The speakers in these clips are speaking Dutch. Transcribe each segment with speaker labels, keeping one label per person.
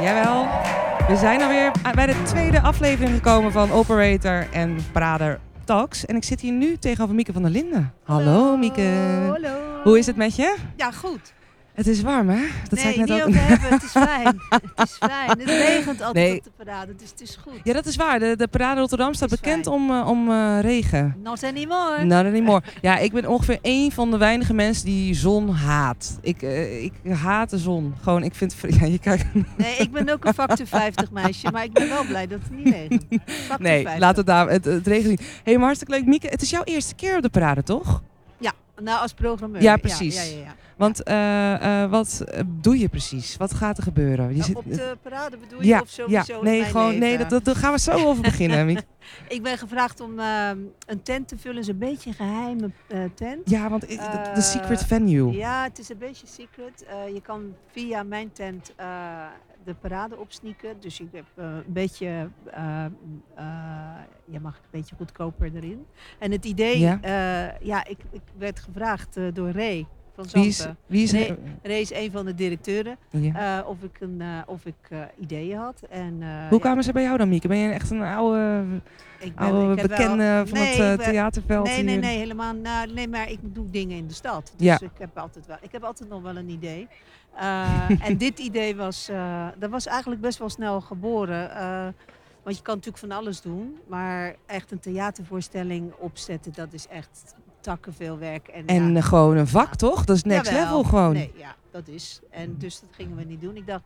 Speaker 1: Jawel. We zijn alweer bij de tweede aflevering gekomen van Operator en Prader Talks. En ik zit hier nu tegenover Mieke van der Linden. Hallo, Mieke.
Speaker 2: Hallo.
Speaker 1: Hoe is het met je?
Speaker 2: Ja, goed.
Speaker 1: Het is warm, hè? Dat
Speaker 2: nee,
Speaker 1: zei ik net
Speaker 2: niet
Speaker 1: ook.
Speaker 2: over hebben. Het is fijn. het is fijn. Het regent altijd
Speaker 1: Nee.
Speaker 2: op de parade, dus het is goed.
Speaker 1: Ja, dat is waar. De, de Parade Rotterdam staat
Speaker 2: Is
Speaker 1: bekend
Speaker 2: fijn.
Speaker 1: om, eh, om eh, regen. Nou,
Speaker 2: Not anymore.
Speaker 1: Not anymore. Ja, ik ben ongeveer één van de weinige mensen die zon haat. Ik, eh, ik haat de zon. Gewoon, ik vind... Ja, je kijkt...
Speaker 2: Nee, ik ben ook een factor 50 meisje, maar ik ben wel blij dat het niet regent. Factor
Speaker 1: Nee,
Speaker 2: 50.
Speaker 1: laat het daar... Het, het regent niet. Hé, hey, maar hartstikke leuk. Mieke, het is jouw eerste keer op de parade, toch?
Speaker 2: Nou, als programmeur.
Speaker 1: Ja, precies.
Speaker 2: Ja, ja, ja,
Speaker 1: Want eh, eh, wat eh, doe je precies? Wat gaat er gebeuren? Je
Speaker 2: Nou,
Speaker 1: zit- eh,
Speaker 2: Op de parade bedoel je
Speaker 1: ja,
Speaker 2: of sowieso
Speaker 1: ja,
Speaker 2: in
Speaker 1: nee,
Speaker 2: mijn
Speaker 1: gewoon, nee,
Speaker 2: leven?
Speaker 1: dat, dat, daar gaan we zo over beginnen. Mieke.
Speaker 2: Ik ben gevraagd om ehm, een tent te vullen. Het is een beetje een geheime eh, tent.
Speaker 1: Ja, want ik- de, de
Speaker 2: Eh,
Speaker 1: secret venue.
Speaker 2: Ja, het is een beetje secret. Eh, je kan via mijn tent eh, de parade opsneaken. Dus ik heb eh, een beetje, eh, eh, je mag een beetje goedkoper erin. En het idee,
Speaker 1: Ja.
Speaker 2: ja, ja ik, ik werd gevraagd eh, door Ray van
Speaker 1: Wie is...
Speaker 2: Zanten.
Speaker 1: Wie is
Speaker 2: Nee. Ray is een van de directeuren.
Speaker 1: Ja.
Speaker 2: eh, of ik, een, eh, of ik eh, ideeën had. En, eh,
Speaker 1: Hoe kwamen ze bij jou dan, Mieke? Ben je echt een oude,
Speaker 2: ja, ik ben-
Speaker 1: oude
Speaker 2: Nou, ik heb wel-
Speaker 1: bekende van
Speaker 2: Nee,
Speaker 1: het
Speaker 2: ik
Speaker 1: eh,
Speaker 2: ben-
Speaker 1: theaterveld?
Speaker 2: Nee, nee,
Speaker 1: hier?
Speaker 2: nee, helemaal. Nou, nee, maar ik doe dingen in de stad. Dus
Speaker 1: Ja.
Speaker 2: ik, heb altijd wel, ik heb altijd nog wel een idee. Eh, en dit idee was, eh, dat was eigenlijk best wel snel geboren. eh, want je kan natuurlijk van alles doen. Maar echt een theatervoorstelling opzetten, dat is echt takken veel werk. En,
Speaker 1: En eh, gewoon een vak, toch? Dat is next
Speaker 2: Jawel.
Speaker 1: level gewoon.
Speaker 2: Nee, ja, dat is. En dus dat gingen we niet doen. Ik dacht,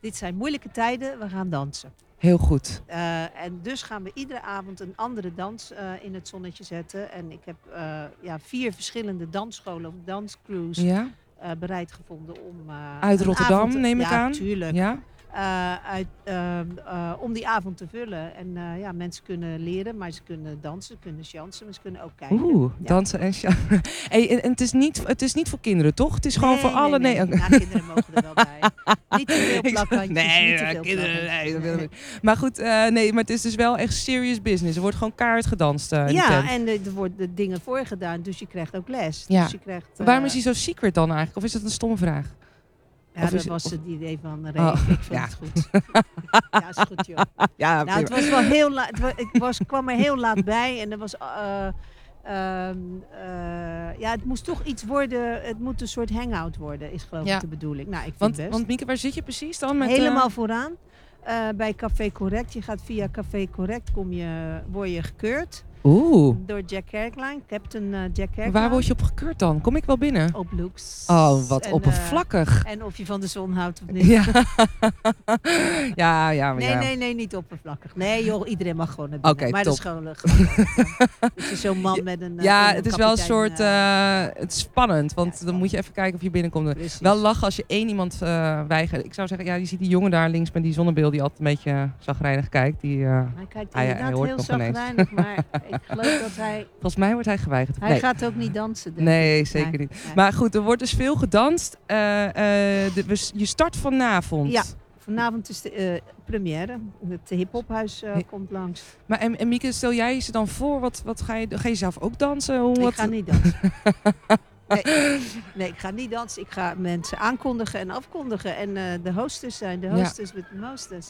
Speaker 2: dit zijn moeilijke tijden, we gaan dansen.
Speaker 1: Heel goed.
Speaker 2: Eh, en dus gaan we iedere avond een andere dans eh, in het zonnetje zetten. En ik heb eh, ja, vier verschillende dansscholen of danscrews
Speaker 1: Ja?
Speaker 2: eh, bereid gevonden om... eh,
Speaker 1: Uit
Speaker 2: een
Speaker 1: Rotterdam,
Speaker 2: avond te-
Speaker 1: neem ik
Speaker 2: ja,
Speaker 1: aan?
Speaker 2: Tuurlijk.
Speaker 1: Ja?
Speaker 2: Eh, uit, ehm, eh, om die avond te vullen. En eh, ja, mensen kunnen leren, maar ze kunnen dansen, ze kunnen chansen, maar ze kunnen ook kijken.
Speaker 1: Oeh,
Speaker 2: Ja.
Speaker 1: dansen en sja- Hey, en, en het, is niet, het is niet voor kinderen, toch? Het is gewoon voor alle...
Speaker 2: Nee,
Speaker 1: nee,
Speaker 2: nee. Ja, kinderen mogen er wel bij. niet te veel
Speaker 1: Ik zou-
Speaker 2: plakbandjes,
Speaker 1: nee,
Speaker 2: niet te
Speaker 1: ja,
Speaker 2: veel
Speaker 1: kinderen,
Speaker 2: plakbandjes.
Speaker 1: nee, dat willen we niet. Maar goed, eh, nee, maar het is dus wel echt serious business. Er wordt gewoon kaart gedanst eh, in de tent.
Speaker 2: Ja, en eh, er worden dingen voorgedaan, dus je krijgt ook les.
Speaker 1: Ja.
Speaker 2: Dus je krijgt, eh,
Speaker 1: Waarom is hij zo secret dan eigenlijk? Of is dat een stomme vraag?
Speaker 2: Ja,
Speaker 1: Of
Speaker 2: dat
Speaker 1: is-
Speaker 2: was
Speaker 1: of-
Speaker 2: het idee van Ray.
Speaker 1: Oh,
Speaker 2: ik vond
Speaker 1: ja.
Speaker 2: het goed. ja, is goed joh.
Speaker 1: Ja,
Speaker 2: Nou, het was wel heel laat. het wa- Ik was, kwam er heel laat bij en er was. eh, ehm, eh, ja, het moest toch iets worden. Het moet een soort hangout worden, is geloof ik
Speaker 1: Ja.
Speaker 2: de bedoeling. Nou, ik vind
Speaker 1: want,
Speaker 2: het best.
Speaker 1: want Mieke, waar zit je precies dan? Met, eh,
Speaker 2: Helemaal vooraan. eh, bij Café Correct. Je gaat via Café Correct kom je, word je gekeurd
Speaker 1: Oeh,
Speaker 2: door Jack Kerkline, Captain eh, Jack Kerkline.
Speaker 1: waar word je op gekeurd dan? Kom ik wel binnen?
Speaker 2: Op looks.
Speaker 1: Oh, wat
Speaker 2: En, eh,
Speaker 1: oppervlakkig.
Speaker 2: en of je van de zon houdt of niet.
Speaker 1: Ja. ja, ja, maar
Speaker 2: Nee,
Speaker 1: ja.
Speaker 2: nee, nee, niet oppervlakkig. Nee, joh, iedereen mag gewoon naar
Speaker 1: Oké,
Speaker 2: binnen. maar
Speaker 1: top.
Speaker 2: dat is gewoon... gewoon- dat je zo'n man met een... eh,
Speaker 1: Ja,
Speaker 2: een
Speaker 1: het is wel een
Speaker 2: kapitein,
Speaker 1: soort...
Speaker 2: eh,
Speaker 1: eh, het is spannend, want dan moet je even kijken of je binnenkomt.
Speaker 2: precies.
Speaker 1: Wel lachen als je één iemand eh weigert. Ik zou zeggen, ja, je ziet die jongen daar links met die zonnebeeld die altijd een beetje zagrijnig kijkt. Die, eh,
Speaker 2: Hij kijkt
Speaker 1: Hij- hij
Speaker 2: inderdaad
Speaker 1: hoort
Speaker 2: heel
Speaker 1: nog ineens.
Speaker 2: zagrijnig, maar ik geloof dat hij...
Speaker 1: volgens mij wordt hij geweigerd.
Speaker 2: Hij
Speaker 1: nee.
Speaker 2: gaat ook niet dansen, denk ik.
Speaker 1: nee, zeker niet.
Speaker 2: Nee.
Speaker 1: Maar goed, er wordt dus veel gedanst. Eh, eh, de- we s- je start vanavond.
Speaker 2: Ja. Vanavond is de eh, première. Het hiphophuis eh
Speaker 1: Ja.
Speaker 2: komt langs.
Speaker 1: Maar en, en Mieke, stel jij ze dan voor? Wat, wat ga, je, ga je zelf ook dansen? Hoe, wat,
Speaker 2: Ik ga niet dansen. Nee. nee, ik ga niet dansen. Ik ga mensen aankondigen en afkondigen. En eh, de hostess zijn de
Speaker 1: Ja.
Speaker 2: hostess met de mosters.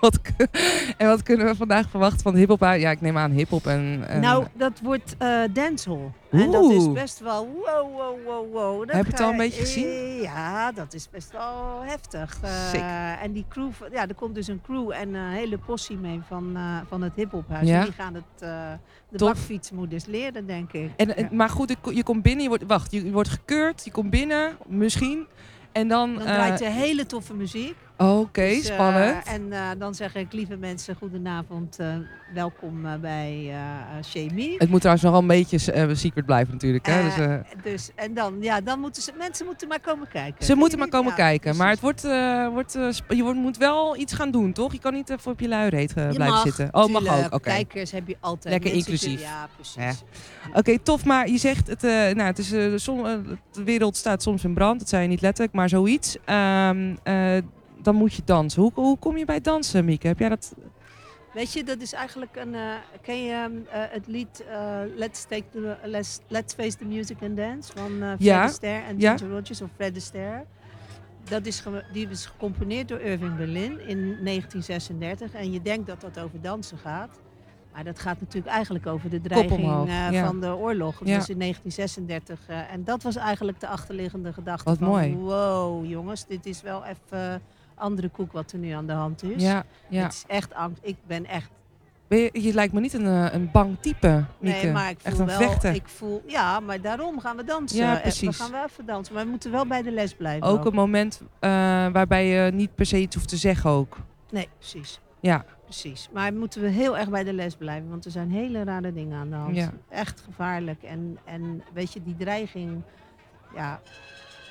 Speaker 1: wat kun- en wat kunnen we vandaag verwachten van hiphop? Ah, Ja, ik neem aan hiphop en... en
Speaker 2: Nou, dat wordt eh dancehall. En dat is
Speaker 1: Eh, Oeh.
Speaker 2: best wel wow, wow, wow, wow. Dat
Speaker 1: Heb je het
Speaker 2: ga-
Speaker 1: al een beetje gezien?
Speaker 2: Eh, Ja, dat is best wel heftig. Eh,
Speaker 1: Sick.
Speaker 2: en die crew, van- ja, er komt dus een crew en een hele possie mee van, eh, van het hiphophuis.
Speaker 1: Ja.
Speaker 2: En die gaan het, eh de
Speaker 1: Tof.
Speaker 2: bakfietsmoeders leren, denk ik.
Speaker 1: En, en-
Speaker 2: Ja.
Speaker 1: Maar goed, ik- je komt binnen, je wordt, wacht, je, je wordt gekeurd, je komt binnen, misschien. En dan...
Speaker 2: Dan
Speaker 1: eh,
Speaker 2: draait er hele toffe muziek.
Speaker 1: Oké,
Speaker 2: Dus, eh,
Speaker 1: spannend.
Speaker 2: en eh, dan zeg ik, lieve mensen, goedenavond. eh, welkom eh, bij eh Shemi.
Speaker 1: Het moet trouwens nog wel een beetje eh, secret blijven natuurlijk. Hè?
Speaker 2: Eh,
Speaker 1: dus, eh,
Speaker 2: Dus, en dan, ja, dan moeten ze, mensen moeten maar komen kijken.
Speaker 1: ze
Speaker 2: Vind
Speaker 1: moeten
Speaker 2: je
Speaker 1: maar
Speaker 2: niet?
Speaker 1: komen
Speaker 2: Ja,
Speaker 1: kijken. Maar het
Speaker 2: precies.
Speaker 1: wordt, eh, wordt, eh, sp- je wordt, moet wel iets gaan doen, toch? Je kan niet even op je lui reet eh,
Speaker 2: Je
Speaker 1: blijven
Speaker 2: mag,
Speaker 1: zitten. Oh, mag ook.
Speaker 2: tuurlijk.
Speaker 1: Oké,
Speaker 2: Kijkers heb je altijd.
Speaker 1: Lekker
Speaker 2: Mensen
Speaker 1: inclusief.
Speaker 2: kunnen- Ja, precies.
Speaker 1: Ja. Oké, tof. Maar je zegt, het, eh, nou, het is, eh, de som- eh, de wereld staat soms in brand. Dat zei je niet letterlijk, maar zoiets. Ehm, eh, dan moet je dansen. Hoe, hoe kom je bij dansen, Mieke? Heb jij dat...
Speaker 2: Weet je, dat is eigenlijk een. eh, ken je ehm, eh, het lied eh, Let's Take the let's, let's Face the Music and Dance van eh Fred
Speaker 1: Ja,
Speaker 2: Astaire en
Speaker 1: ja.
Speaker 2: Ginger Rogers of Fred Astaire? dat is ge- die is gecomponeerd door Irving Berlin in 1936. En je denkt dat dat over dansen gaat. Maar dat gaat natuurlijk eigenlijk over de dreiging
Speaker 1: omhoog,
Speaker 2: eh,
Speaker 1: ja.
Speaker 2: van de oorlog. Dus
Speaker 1: Ja.
Speaker 2: in 1936. eh, en dat was eigenlijk de achterliggende gedachte
Speaker 1: Wat
Speaker 2: van...
Speaker 1: mooi.
Speaker 2: Wow, jongens, dit is wel even andere koek wat er nu aan de hand is.
Speaker 1: Ja, ja.
Speaker 2: Dus? Het is echt angst. Ik ben echt
Speaker 1: Ben je, je lijkt me niet een, eh, een bang type, Mieke.
Speaker 2: Nee, maar ik voel
Speaker 1: Echt een
Speaker 2: wel.
Speaker 1: vechter.
Speaker 2: Ik voel, ja, maar daarom gaan we dansen.
Speaker 1: Ja,
Speaker 2: Eh, We
Speaker 1: precies.
Speaker 2: gaan wel even dansen, maar we moeten wel bij de les blijven.
Speaker 1: Ook een moment eh, waarbij je niet per se iets hoeft te zeggen ook.
Speaker 2: Nee, precies.
Speaker 1: Ja.
Speaker 2: Precies. Maar moeten we heel erg bij de les blijven, want er zijn hele rare dingen aan de hand.
Speaker 1: Ja.
Speaker 2: Echt gevaarlijk. En, en weet je, die dreiging. Ja,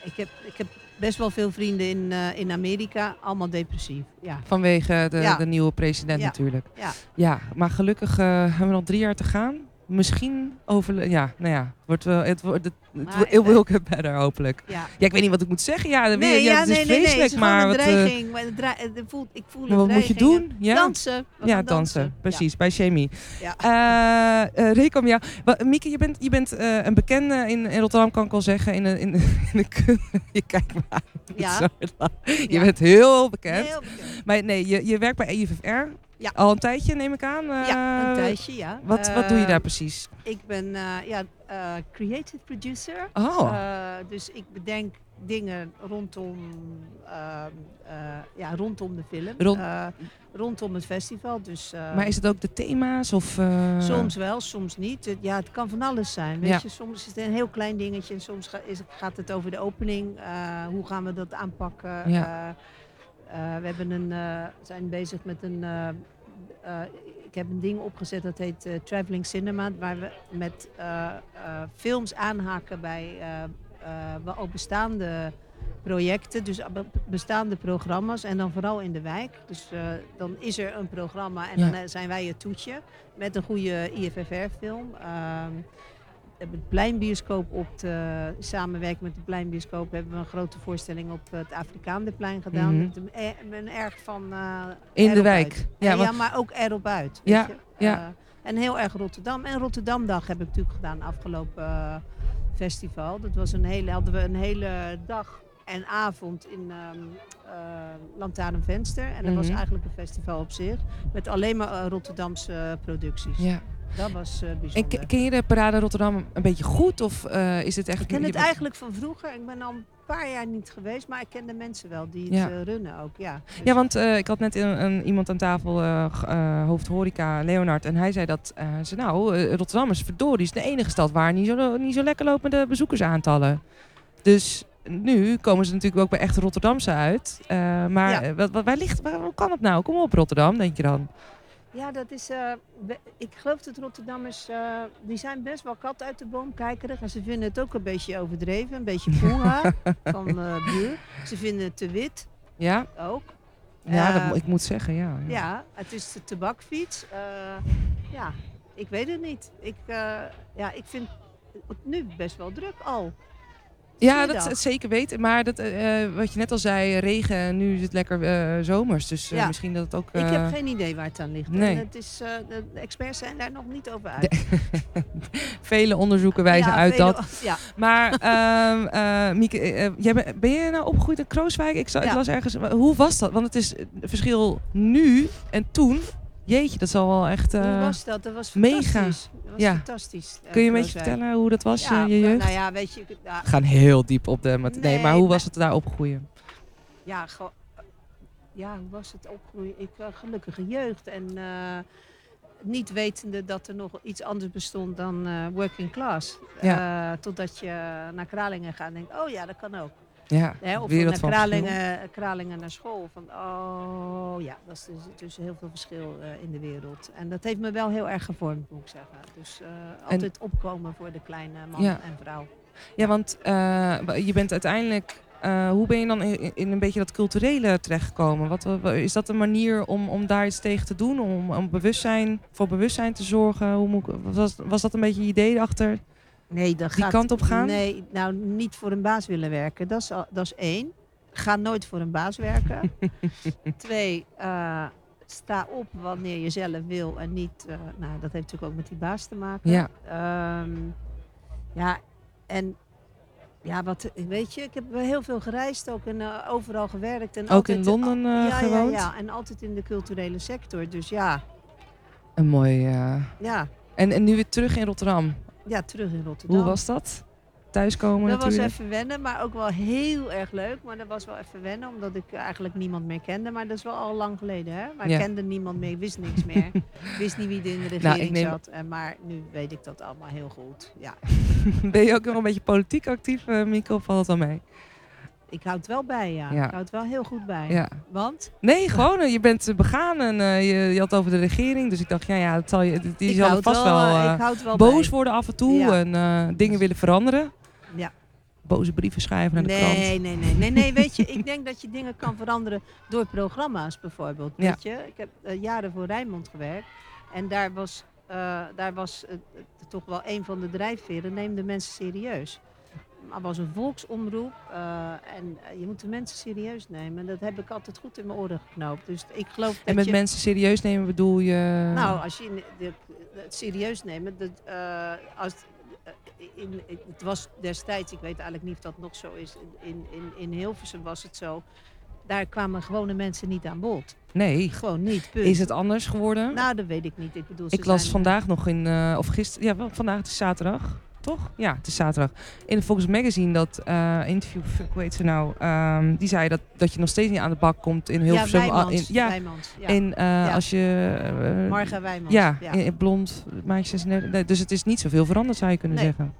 Speaker 2: ik heb, ik heb best wel veel vrienden in, eh, in Amerika, allemaal depressief. Ja.
Speaker 1: Vanwege de,
Speaker 2: Ja.
Speaker 1: de nieuwe president
Speaker 2: Ja.
Speaker 1: natuurlijk.
Speaker 2: Ja.
Speaker 1: ja, maar gelukkig eh, hebben we nog drie jaar te gaan. Misschien over... Ja, nou ja. Het wordt wel... Het wordt... Het, het
Speaker 2: Maar-
Speaker 1: will- it will get better, hopelijk.
Speaker 2: ja.
Speaker 1: Ja, ik weet niet wat ik moet zeggen. Ja, weer,
Speaker 2: Nee,
Speaker 1: ja,
Speaker 2: ja,
Speaker 1: het is
Speaker 2: nee, nee, nee.
Speaker 1: dus vreselijk,
Speaker 2: Het is gewoon
Speaker 1: maar...
Speaker 2: een
Speaker 1: wat, eh,
Speaker 2: dreiging. maar het dra- het voelt, ik voel
Speaker 1: maar
Speaker 2: een
Speaker 1: wat moet je
Speaker 2: dreiging.
Speaker 1: doen? Ja.
Speaker 2: Dansen. We
Speaker 1: ja,
Speaker 2: gaan
Speaker 1: dansen. Precies, bij Jamie.
Speaker 2: Ja.
Speaker 1: Ja. Rekom, ja. Wa- Mieke, je bent, je bent eh, een bekende in, in Rotterdam, kan ik al zeggen. In, de- in, de- in de kun- je kijkt me aan. met
Speaker 2: Ja.
Speaker 1: zo'n lach. Je
Speaker 2: Ja.
Speaker 1: bent heel
Speaker 2: Ja.
Speaker 1: bekend.
Speaker 2: Heel bekend.
Speaker 1: Maar nee, je, je werkt bij E EFFR.
Speaker 2: Ja.
Speaker 1: Al een tijdje, neem ik aan. eh,
Speaker 2: Ja, een tijdje, ja.
Speaker 1: Wat, wat
Speaker 2: Eh,
Speaker 1: doe je daar precies?
Speaker 2: Ik ben eh, ja, eh, creative producer.
Speaker 1: Oh,
Speaker 2: Eh, dus ik bedenk dingen rondom, eh, eh, ja, rondom de film.
Speaker 1: Rond-
Speaker 2: eh, rondom het festival. Dus, eh,
Speaker 1: maar is het ook de thema's? Of, eh,
Speaker 2: Soms wel, soms niet. Het- Ja, het kan van alles zijn. Weet
Speaker 1: Ja.
Speaker 2: je, soms is het een heel klein dingetje en soms ga- is, gaat het over de opening. Eh, hoe gaan we dat aanpakken?
Speaker 1: Ja.
Speaker 2: Eh, eh, we hebben een, eh, zijn bezig met een. eh, eh, ik heb een ding opgezet dat heet eh, Traveling Cinema, waar we met eh, eh, films aanhaken bij eh, eh, wel ook bestaande projecten, dus be- bestaande programma's en dan vooral in de wijk. Dus eh, dan is er een programma en
Speaker 1: Ja.
Speaker 2: dan eh, zijn wij het toetje met een goede IFFR-film. Ehm we hebben het Pleinbioscoop op de samenwerking met de Pleinbioscoop hebben we een grote voorstelling op het Afrikaanderplein gedaan.
Speaker 1: Mhm.
Speaker 2: Met een, eh, met een erg van eh,
Speaker 1: in de
Speaker 2: erop
Speaker 1: wijk.
Speaker 2: uit.
Speaker 1: Ja,
Speaker 2: Ja,
Speaker 1: want-
Speaker 2: maar ook erop uit.
Speaker 1: Ja,
Speaker 2: weet je.
Speaker 1: ja.
Speaker 2: Eh, en heel erg Rotterdam. En Rotterdamdag heb ik natuurlijk gedaan afgelopen eh, festival. Dat was een hele, hadden we een hele dag en avond in ehm eh, Lantaarnvenster. En dat was
Speaker 1: Mhm.
Speaker 2: eigenlijk een festival op zich. Met alleen maar eh, Rotterdamse producties.
Speaker 1: ja.
Speaker 2: Dat was eh,
Speaker 1: En
Speaker 2: bijzonder.
Speaker 1: ke- ken je de Parade Rotterdam een beetje goed? Of eh, is het echt...
Speaker 2: ik ken
Speaker 1: je
Speaker 2: het
Speaker 1: bent-
Speaker 2: eigenlijk van vroeger. Ik ben al een paar jaar niet geweest, maar ik ken de mensen wel die het
Speaker 1: Ja.
Speaker 2: eh, runnen ook. Ja, Dus-
Speaker 1: Ja, want eh, ik had net een, een- iemand aan tafel, eh g- eh, hoofd horeca, Leonard. En hij zei dat, eh, ze, nou, eh, Rotterdam is verdorie is de enige stad waar niet zo, niet zo lekker loopt met de bezoekersaantallen. Dus nu komen ze natuurlijk ook bij echt Rotterdamse uit. Eh, maar
Speaker 2: Ja.
Speaker 1: eh, wat, wat, waar ligt, waar, hoe kan het nou? Kom op Rotterdam, denk je dan.
Speaker 2: Ja, dat is. eh, we- ik geloof dat Rotterdammers. eh, die zijn best wel kat uit de boom kijkerig. En ze vinden het ook een beetje overdreven. Een beetje poeha van eh buur. Ze vinden het te wit
Speaker 1: Ja,
Speaker 2: ook.
Speaker 1: ja dat
Speaker 2: Eh,
Speaker 1: mo- ik moet zeggen, ja. ja.
Speaker 2: Ja, het is de tabakfiets. Eh, ja, ik weet het niet. Ik, eh, ja, ik vind het nu best wel druk al.
Speaker 1: Ja, dat,
Speaker 2: Goeiedag.
Speaker 1: dat zeker weten. Maar dat, eh, eh, wat je net al zei, regen, nu is het lekker eh, zomers. Dus eh,
Speaker 2: Ja.
Speaker 1: misschien dat het ook...
Speaker 2: Ik
Speaker 1: eh,
Speaker 2: heb geen idee waar het aan ligt. En
Speaker 1: nee.
Speaker 2: het is, eh, de de experts zijn daar nog niet over uit.
Speaker 1: Vele onderzoeken wijzen
Speaker 2: Ja,
Speaker 1: uit
Speaker 2: vele-
Speaker 1: dat
Speaker 2: Ja,
Speaker 1: Maar ehm, eh, Mieke, eh, jij ben, ben jij nou opgegroeid in Krooswijk? Ik, zou, ik
Speaker 2: Ja.
Speaker 1: las ergens, wa- hoe was dat? Want het is eh, verschil nu en toen. Jeetje, dat zal wel echt... eh,
Speaker 2: hoe was dat? Dat was
Speaker 1: mega.
Speaker 2: fantastisch. Dat was
Speaker 1: Ja.
Speaker 2: fantastisch. eh,
Speaker 1: kun je een beetje
Speaker 2: Krooswijk.
Speaker 1: vertellen hoe dat was, eh, je
Speaker 2: nou-
Speaker 1: jeugd?
Speaker 2: Nou ja, weet je, ik- ja,
Speaker 1: We gaan heel diep op de... mat- nee,
Speaker 2: Nee,
Speaker 1: maar hoe
Speaker 2: maar-
Speaker 1: was het daar opgroeien?
Speaker 2: ja, ge- ja, hoe was het opgroeien? Ik eh, gelukkige jeugd en eh, niet wetende dat er nog iets anders bestond dan eh, working class. Eh, totdat je naar Kralingen gaat en denkt, oh ja, dat kan ook.
Speaker 1: Ja,
Speaker 2: Hè, of
Speaker 1: wereld van
Speaker 2: naar
Speaker 1: verschil.
Speaker 2: Kralingen, eh, Kralingen naar school. Van, oh ja, dat is dus, dus heel veel verschil eh, in de wereld. En dat heeft me wel heel erg gevormd, moet ik zeggen. Dus eh, altijd opkomen voor de kleine man
Speaker 1: Ja.
Speaker 2: en vrouw.
Speaker 1: Ja, want eh, wa- je bent uiteindelijk... eh, hoe ben je dan in, in een beetje dat culturele terechtgekomen? Wat, wa- wa- is dat een manier om, om daar iets tegen te doen? Om, om bewustzijn, voor bewustzijn te zorgen? Hoe moet, ik- was, was dat een beetje je idee erachter?
Speaker 2: Nee, dat
Speaker 1: die
Speaker 2: gaat,
Speaker 1: kant op gaan?
Speaker 2: Nee, nou niet voor een baas willen werken. Dat is, al- dat is één. Ga nooit voor een baas werken. Twee, eh, sta op wanneer je zelf wil en niet. eh, nou, dat heeft natuurlijk ook met die baas te maken.
Speaker 1: Ja.
Speaker 2: Ehm, ja, Ehm, en Ja, wat, weet je, ik heb heel veel gereisd ook en eh, overal gewerkt. En
Speaker 1: Ook
Speaker 2: altijd,
Speaker 1: in Londen eh,
Speaker 2: ja, ja,
Speaker 1: gewoond?
Speaker 2: ja, en altijd in de culturele sector. Dus ja,
Speaker 1: Een mooi... eh,
Speaker 2: ja,
Speaker 1: En, en nu weer terug in Rotterdam.
Speaker 2: ja terug in Rotterdam.
Speaker 1: Hoe was dat? Thuiskomen
Speaker 2: Dat was
Speaker 1: natuurlijk.
Speaker 2: even wennen, maar ook wel heel erg leuk. Maar dat was wel even wennen, omdat ik eigenlijk niemand meer kende. Maar dat is wel al lang geleden, hè? Maar
Speaker 1: Ja. Nou,
Speaker 2: ik kende niemand meer, wist niks meer. wist niet wie er in de regering
Speaker 1: neem-
Speaker 2: zat. En, maar nu weet ik dat allemaal heel goed. Ja,
Speaker 1: ben je ook nog een beetje politiek actief, eh Mieke, of valt het wel mee?
Speaker 2: ik houd het wel bij, ja.
Speaker 1: Ja.
Speaker 2: Ik houd het wel heel goed bij.
Speaker 1: Ja.
Speaker 2: Want
Speaker 1: Nee, gewoon, eh, je bent eh, begaan en eh, je, je had het over de regering. Dus ik dacht, ja, ja dat zal je, die- die
Speaker 2: ik
Speaker 1: zal
Speaker 2: houd,
Speaker 1: vast wel,
Speaker 2: wel, eh,
Speaker 1: eh,
Speaker 2: ik houd wel
Speaker 1: boos
Speaker 2: bij.
Speaker 1: worden af en toe
Speaker 2: Ja.
Speaker 1: en eh, dingen willen veranderen.
Speaker 2: Ja.
Speaker 1: Boze brieven schrijven naar de krant.
Speaker 2: Nee, nee, nee, nee, nee. Weet je, ik denk dat je dingen kan veranderen door programma's bijvoorbeeld.
Speaker 1: Ja.
Speaker 2: Weet je, ik heb eh, jaren voor Rijnmond gewerkt en daar was, eh, daar was eh, eh, toch wel een van de drijfveren: neem de mensen serieus. Er was een volksomroep eh, en eh, je moet de mensen serieus nemen. Dat heb ik altijd goed in mijn oren geknoopt. Dus ik geloof dat
Speaker 1: En met
Speaker 2: je...
Speaker 1: mensen serieus nemen bedoel je...
Speaker 2: Nou, als je in de- het serieus neemt, dat, eh, als, eh, in, in- het was destijds, ik weet eigenlijk niet of dat nog zo is, in, in, in Hilversum was het zo, daar kwamen gewone mensen niet aan bod.
Speaker 1: nee.
Speaker 2: Gewoon niet, punt.
Speaker 1: Is het anders geworden?
Speaker 2: dus. Nou, dat weet ik niet. Ik bedoel, ze
Speaker 1: ik las
Speaker 2: zijn-
Speaker 1: vandaag nog in, eh, of gisteren, ja, wel, vandaag het is zaterdag, toch? Ja, het is zaterdag. In de Volks Magazine dat eh, interview, fuck, hoe heet ze nou? Ehm, die zei dat, dat je nog steeds niet aan de bak komt in Hilversum.
Speaker 2: Ja,
Speaker 1: ah,
Speaker 2: Wijmans.
Speaker 1: in, ja,
Speaker 2: Wijmans, ja.
Speaker 1: in, eh,
Speaker 2: Ja.
Speaker 1: als je... eh,
Speaker 2: Marga Wijmans.
Speaker 1: ja, In, in blond, maatje 36. Nee, dus het is niet zoveel veranderd, zou je kunnen
Speaker 2: Nee.
Speaker 1: zeggen.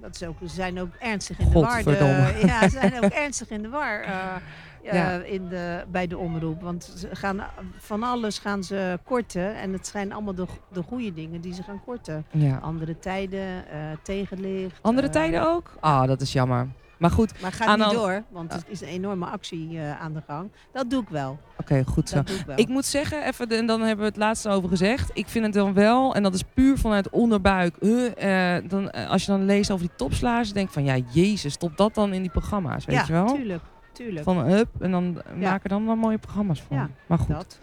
Speaker 2: Dat is ook, ze zijn ook ernstig in de war. De-
Speaker 1: Godverdomme.
Speaker 2: ja, ze zijn ook ernstig in de war eh, eh,
Speaker 1: Ja.
Speaker 2: in de, bij de omroep. Want ze gaan, van alles gaan ze korten. En het zijn allemaal de, go- de goede dingen die ze gaan korten.
Speaker 1: Ja.
Speaker 2: Andere tijden, eh tegenlicht.
Speaker 1: Andere
Speaker 2: eh,
Speaker 1: tijden Ah, nou- ook? Ah, dat is jammer. Maar goed,
Speaker 2: Maar gaat
Speaker 1: Aan
Speaker 2: niet
Speaker 1: de-
Speaker 2: door, want er is een enorme actie eh, aan de gang. Dat doe ik wel.
Speaker 1: oké, goed zo.
Speaker 2: Dat doe ik wel.
Speaker 1: Ik moet zeggen, even, de- en dan hebben we het laatste over gezegd. Ik vind het dan wel, en dat is puur vanuit onderbuik. eh, eh, dan, eh, als je dan leest over die topslagen, denk ik van ja, Jezus, stop dat dan in die programma's, weet
Speaker 2: ja,
Speaker 1: je wel?
Speaker 2: tuurlijk. Tuurlijk.
Speaker 1: Van hup, en dan eh,
Speaker 2: Ja.
Speaker 1: maak er dan wel mooie programma's van.
Speaker 2: Ja,
Speaker 1: maar goed.
Speaker 2: dat.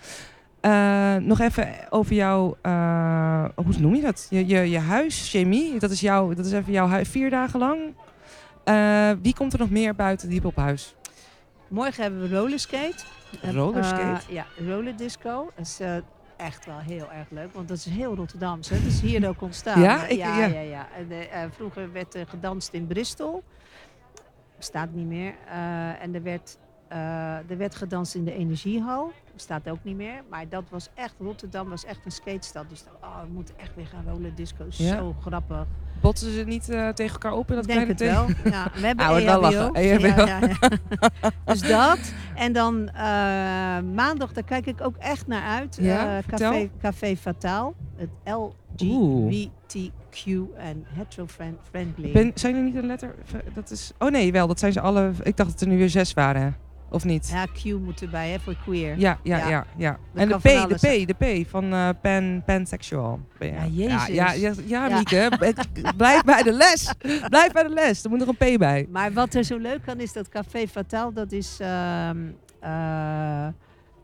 Speaker 1: Eh, nog even over jouw, eh, hoe noem je dat? Je, je, je huis, chemie, dat is, jouw, dat is even jouw huis, vier dagen lang. Eh, wie komt er nog meer buiten het hiphophuis?
Speaker 2: Morgen hebben we rollerskate. En,
Speaker 1: Rollerskate?
Speaker 2: eh, ja, rollerdisco. Dat is eh, echt wel heel erg leuk, want dat is heel Rotterdams. Hè? Dat is hier ook ontstaan.
Speaker 1: Ja? Ik-
Speaker 2: ja,
Speaker 1: ja.
Speaker 2: ja. ja, En, eh, eh, vroeger werd er gedanst in Bristol. Bestaat niet meer. Eh, en er werd, eh, er werd gedanst in de Energiehal. Bestaat ook niet meer. Maar dat was echt, Rotterdam was echt een skatestad. Dus oh, we moeten echt weer gaan rollerdisco.
Speaker 1: Ja.
Speaker 2: Zo grappig.
Speaker 1: Botsen ze niet eh, tegen elkaar op in dat
Speaker 2: Ik denk
Speaker 1: kleine
Speaker 2: het
Speaker 1: teken?
Speaker 2: wel. Ja, we hebben E
Speaker 1: Ah, we wel
Speaker 2: EHBO.
Speaker 1: lachen. EHBO.
Speaker 2: Ja, ja, ja. dus dat. En dan eh, maandag, daar kijk ik ook echt naar uit.
Speaker 1: Ja,
Speaker 2: Eh,
Speaker 1: vertel.
Speaker 2: Café, Café Fataal. Het LGBTQ en hetero-friendly.
Speaker 1: Ben, zijn er niet een letter? Dat is, oh nee, wel, dat zijn ze alle. Ik dacht dat er nu weer zes waren. Of niet? Ja,
Speaker 2: Ja, Q moet erbij, hè, voor queer.
Speaker 1: ja, ja.
Speaker 2: Ja.
Speaker 1: ja,
Speaker 2: Dat
Speaker 1: En de
Speaker 2: kan
Speaker 1: P,
Speaker 2: van alles
Speaker 1: de P, de P van eh, pan, pansexual. Ben je-
Speaker 2: Ja, Jezus.
Speaker 1: Ja, ja, ja, ja,
Speaker 2: Ja.
Speaker 1: Mieke, b- blijf bij de les. Blijf bij de les. Er moet nog een P bij.
Speaker 2: Maar wat er zo leuk aan is, dat Café Fataal, dat is... ehm, eh,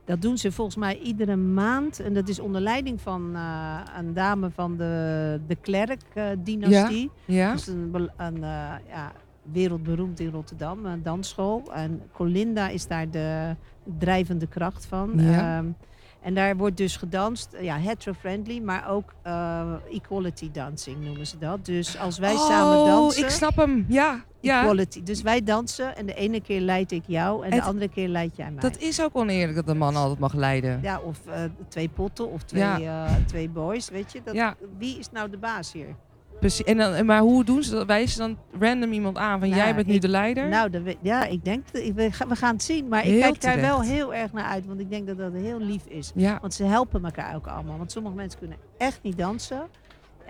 Speaker 2: dat doen ze volgens mij iedere maand. En dat is onder leiding van eh, een dame van de, de Klerk-dynastie.
Speaker 1: Ja.
Speaker 2: Dat is een, bel- een eh, ja, wereldberoemd in Rotterdam, een dansschool. En Colinda is daar de drijvende kracht van.
Speaker 1: Ja.
Speaker 2: Ehm, en daar wordt dus gedanst, eh, ja, hetero-friendly, maar ook eh, equality dancing noemen ze dat. Dus als wij samen
Speaker 1: Oh,
Speaker 2: dansen,
Speaker 1: ik snap hem. Ja, ja.
Speaker 2: equality. Dus wij dansen en de ene keer leid ik jou en
Speaker 1: Het-
Speaker 2: de andere keer leid jij mij.
Speaker 1: Dat is ook oneerlijk dat een man altijd mag leiden.
Speaker 2: Ja, of eh, twee potten of twee, eh, twee boys, weet je. Dat,
Speaker 1: Ja.
Speaker 2: Wie is nou de baas hier?
Speaker 1: Precies. En dan, en maar hoe doen ze dat? Wijzen ze dan random iemand aan van
Speaker 2: Nou,
Speaker 1: jij bent nu
Speaker 2: ik-
Speaker 1: de leider?
Speaker 2: Nou, dat we- ja, ik denk, dat- ik- we ga- we gaan het zien. Maar
Speaker 1: Heel
Speaker 2: ik kijk daar
Speaker 1: terecht.
Speaker 2: wel heel erg naar uit, want ik denk dat dat heel lief is.
Speaker 1: ja.
Speaker 2: Want ze helpen elkaar ook allemaal. Want sommige mensen kunnen echt niet dansen.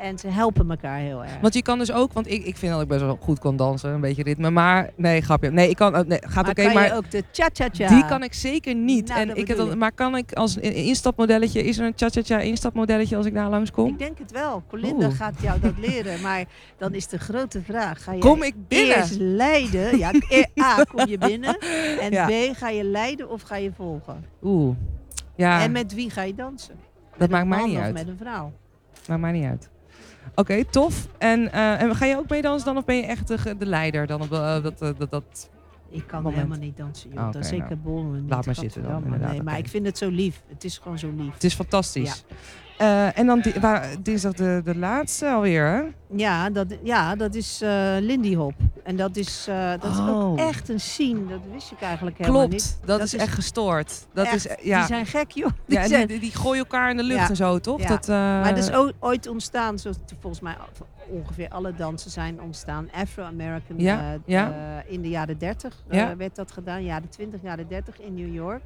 Speaker 2: En ze helpen elkaar heel erg.
Speaker 1: Want je kan dus ook, want ik, ik vind dat ik best wel goed kan dansen, een beetje ritme. Maar nee, grapje. Nee, ik kan, oh, nee, gaat
Speaker 2: maar
Speaker 1: oké,
Speaker 2: kan
Speaker 1: maar
Speaker 2: je ook de cha-cha-cha?
Speaker 1: die kan ik zeker niet.
Speaker 2: Nou,
Speaker 1: en
Speaker 2: dat
Speaker 1: ik heb
Speaker 2: bedoel
Speaker 1: dat,
Speaker 2: ik.
Speaker 1: maar kan ik als een instapmodelletje, is er een cha-cha-cha instapmodelletje als ik daar langskom?
Speaker 2: Ik denk het wel. Colinda
Speaker 1: Oeh.
Speaker 2: gaat jou dat leren. Maar dan is de grote vraag. Ga je
Speaker 1: Kom ik binnen?
Speaker 2: eerst leiden? Ja, e- A, kom je binnen? En
Speaker 1: Ja.
Speaker 2: B, ga je leiden of ga je volgen?
Speaker 1: Oeh. Ja,
Speaker 2: En met wie ga je dansen? Met
Speaker 1: dat
Speaker 2: een
Speaker 1: maakt mij
Speaker 2: man
Speaker 1: niet
Speaker 2: of
Speaker 1: uit.
Speaker 2: met een vrouw?
Speaker 1: Maakt mij niet uit. Oké, tof. En, eh, en ga je ook meedansen dan of ben je echt de, ge- de leider dan op eh, dat, eh, dat, dat...
Speaker 2: Ik kan
Speaker 1: Moment.
Speaker 2: helemaal niet dansen. Joh.
Speaker 1: Ah,
Speaker 2: dat
Speaker 1: oké,
Speaker 2: is zeker
Speaker 1: nou.
Speaker 2: bollen.
Speaker 1: Laat maar zitten dan,
Speaker 2: Nee,
Speaker 1: inderdaad,
Speaker 2: maar
Speaker 1: oké.
Speaker 2: ik vind het zo lief. Het is gewoon zo lief.
Speaker 1: Het is fantastisch. Eh, en dan di- waar, dinsdag de, de laatste alweer, hè?
Speaker 2: Ja, dat, ja, dat is eh, Lindy Hop. En dat is, eh, dat is ook
Speaker 1: Oh.
Speaker 2: echt een scene. Dat wist ik eigenlijk helemaal
Speaker 1: Klopt,
Speaker 2: niet.
Speaker 1: dat, is
Speaker 2: is
Speaker 1: echt gestoord. Dat
Speaker 2: Echt,
Speaker 1: is, eh, ja.
Speaker 2: Die zijn gek, joh. Die
Speaker 1: ja, en
Speaker 2: zijn-
Speaker 1: die, die, die gooien elkaar in de lucht
Speaker 2: Ja.
Speaker 1: en zo, toch?
Speaker 2: Ja.
Speaker 1: Dat, eh,
Speaker 2: Maar dus dat is o- ooit ontstaan, zoals het volgens mij al- ongeveer alle dansen zijn ontstaan. Afro-American
Speaker 1: Ja,
Speaker 2: eh,
Speaker 1: ja.
Speaker 2: eh, in de jaren 30 eh,
Speaker 1: Ja.
Speaker 2: werd dat gedaan, jaren 20, jaren 30 in New York.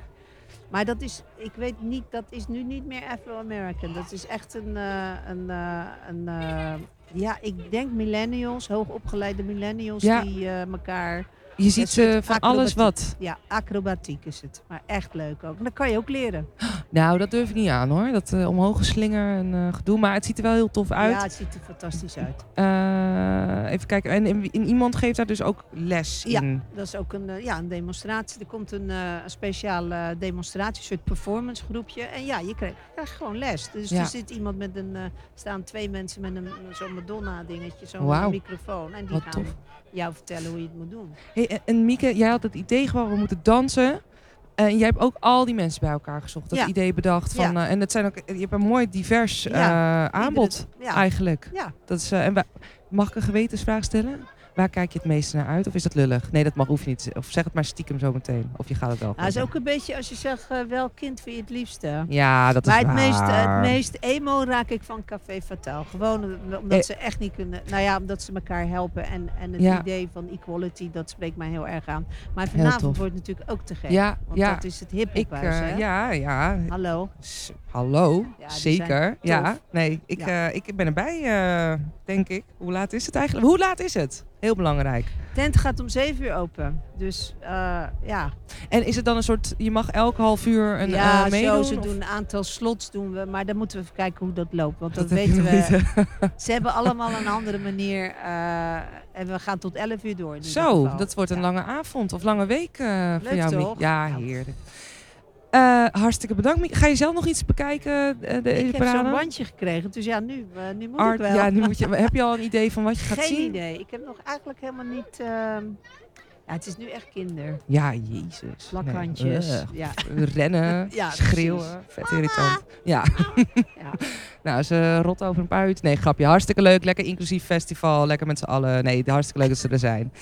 Speaker 2: Maar dat is, ik weet niet, dat is nu niet meer Afro-American. Dat is echt een, eh, een, eh, een eh, ja, ik denk millennials, hoogopgeleide millennials
Speaker 1: Ja.
Speaker 2: die eh, elkaar,
Speaker 1: je ziet
Speaker 2: soort
Speaker 1: ze van alles wat.
Speaker 2: ja, acrobatiek is het. Maar echt leuk ook. En dat kan je ook leren.
Speaker 1: Nou, dat durf ik niet aan hoor. Dat eh, omhoog geslinger en eh, gedoe. Maar het ziet er wel heel tof uit.
Speaker 2: Ja, het ziet er fantastisch uit.
Speaker 1: Eh, even kijken. En, en, en iemand geeft daar dus ook les
Speaker 2: Ja.
Speaker 1: in.
Speaker 2: Dat is ook een, eh, ja, een demonstratie. Er komt een, eh, een speciale demonstratie, een soort performance groepje. En ja, je krijgt, krijgt gewoon les. Dus
Speaker 1: Ja.
Speaker 2: er zit iemand met een, eh, staan twee mensen met een zo'n Madonna dingetje, zo'n
Speaker 1: Wauw.
Speaker 2: microfoon. En die
Speaker 1: Wat
Speaker 2: gaan
Speaker 1: tof.
Speaker 2: jou vertellen hoe je het moet doen.
Speaker 1: Hey, en, en Mieke, jij had het idee gewoon, we moeten dansen. En jij hebt ook al die mensen bij elkaar gezocht. Dat
Speaker 2: Ja.
Speaker 1: idee bedacht. Van, eh, en het zijn ook, je hebt een mooi divers eh, aanbod
Speaker 2: Iedere- ja.
Speaker 1: eigenlijk.
Speaker 2: Ja.
Speaker 1: Dat is, eh, en wa- mag ik een gewetensvraag stellen? Waar kijk je het meeste naar uit? Of is dat lullig? Nee, dat mag, hoef je niet. Of zeg het maar stiekem zo meteen. Of je gaat het wel.
Speaker 2: Nou, is
Speaker 1: gewoon
Speaker 2: ook een beetje als je zegt, eh, welk kind vind je het liefste?
Speaker 1: zeggen. Ja, dat
Speaker 2: Maar
Speaker 1: is
Speaker 2: het meest, eh,
Speaker 1: waar.
Speaker 2: het meest emo raak ik van Café Fataal. Gewoon om- omdat
Speaker 1: Eh.
Speaker 2: ze echt niet kunnen. Nou ja, omdat ze elkaar helpen. En, en het
Speaker 1: Ja.
Speaker 2: idee van equality, dat spreekt mij heel erg aan. Maar
Speaker 1: Heel tof.
Speaker 2: vanavond wordt het natuurlijk ook te gek.
Speaker 1: Ja,
Speaker 2: Want
Speaker 1: ja.
Speaker 2: dat is het hip
Speaker 1: Ik,
Speaker 2: huis,
Speaker 1: eh,
Speaker 2: hè?
Speaker 1: ja, ja.
Speaker 2: Hallo.
Speaker 1: S- Hallo,
Speaker 2: Ja, die
Speaker 1: zeker.
Speaker 2: zijn
Speaker 1: Ja,
Speaker 2: tof.
Speaker 1: nee, ik,
Speaker 2: Ja.
Speaker 1: eh, ik ben erbij, eh, denk ik. Hoe laat is het eigenlijk? Hoe laat is het? Heel belangrijk.
Speaker 2: Tent gaat om 7 uur open. Dus eh, ja.
Speaker 1: En is het dan een soort, je mag elk half uur een
Speaker 2: ja,
Speaker 1: eh, meedoen?
Speaker 2: zo, ze
Speaker 1: of-
Speaker 2: doen een aantal slots doen we. Maar dan moeten we even kijken hoe dat loopt. Want dat,
Speaker 1: heb je
Speaker 2: weten
Speaker 1: nog
Speaker 2: we.
Speaker 1: niet, hè?
Speaker 2: Ze hebben allemaal een andere manier. eh, en we gaan tot 11 uur door. in ieder
Speaker 1: Zo,
Speaker 2: geval.
Speaker 1: dat wordt een
Speaker 2: Ja.
Speaker 1: lange avond of lange week eh voor
Speaker 2: Leuk,
Speaker 1: jou, Miek.
Speaker 2: toch? Nou.
Speaker 1: Ja,
Speaker 2: Ja.
Speaker 1: heerlijk. Eh, hartstikke bedankt, Miek. Ga je zelf nog iets bekijken, eh, deze
Speaker 2: Ik heb zo'n
Speaker 1: parade?
Speaker 2: bandje gekregen, dus ja, nu, eh, nu moet
Speaker 1: Art-
Speaker 2: ik wel.
Speaker 1: ja, nu moet je, heb je al een idee van wat je gaat
Speaker 2: Geen
Speaker 1: zien?
Speaker 2: idee. Ik heb nog eigenlijk helemaal niet... ehm, Ja, het is nu echt kinder.
Speaker 1: Ja, jezus.
Speaker 2: Plakhandjes.
Speaker 1: Nee, ugh.
Speaker 2: ja.
Speaker 1: rennen,
Speaker 2: Ja,
Speaker 1: schreeuwen. Vet irritant. Ja.
Speaker 2: Ja.
Speaker 1: nou, ze rot over een paar uurtjes. Nee, grapje. Hartstikke leuk. Lekker inclusief festival. Lekker met z'n allen. Nee, hartstikke leuk dat ze er zijn.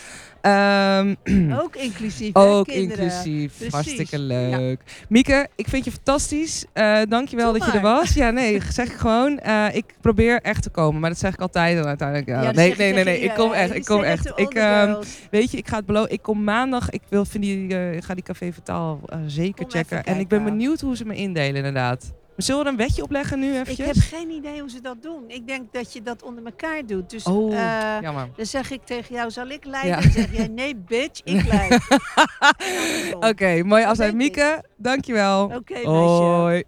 Speaker 1: Ehm,
Speaker 2: Ook inclusief, hè,
Speaker 1: ook
Speaker 2: kinderen.
Speaker 1: inclusief.
Speaker 2: Precies.
Speaker 1: Hartstikke
Speaker 2: Ja.
Speaker 1: leuk. Mieke, ik vind je fantastisch. Eh dankjewel
Speaker 2: Doe
Speaker 1: dat je er
Speaker 2: maar.
Speaker 1: was. Ja, nee, zeg ik gewoon. Eh, ik probeer echt te komen. Maar dat zeg ik altijd en uiteindelijk. ja,
Speaker 2: Ja, dat
Speaker 1: nee,
Speaker 2: zeg je
Speaker 1: nee, nee,
Speaker 2: tegen
Speaker 1: nee. Ik
Speaker 2: iedereen.
Speaker 1: kom echt.
Speaker 2: Je
Speaker 1: Ik kom
Speaker 2: zegt het
Speaker 1: echt.
Speaker 2: to all
Speaker 1: Ik,
Speaker 2: the
Speaker 1: ehm,
Speaker 2: girls.
Speaker 1: Weet je, ik ga het beloven. Ik kom maandag. Ik wil, vind die, eh, ga die Café Vertaal eh, zeker
Speaker 2: Kom even
Speaker 1: checken. En ik ben
Speaker 2: kijken.
Speaker 1: benieuwd hoe ze me indelen, inderdaad. Maar Zullen we er een wetje opleggen nu
Speaker 2: ik
Speaker 1: eventjes?
Speaker 2: heb geen idee hoe ze dat doen. Ik denk dat je dat onder elkaar doet. Dus
Speaker 1: Oh,
Speaker 2: eh,
Speaker 1: Jammer.
Speaker 2: dan zeg ik tegen jou, zal ik leiden?
Speaker 1: Ja.
Speaker 2: Dan zeg jij, nee bitch, ik leid.
Speaker 1: Oké, mooi afscheid.
Speaker 2: weet ik.
Speaker 1: Mieke, dankjewel.
Speaker 2: Oké, meisje.
Speaker 1: Hoi.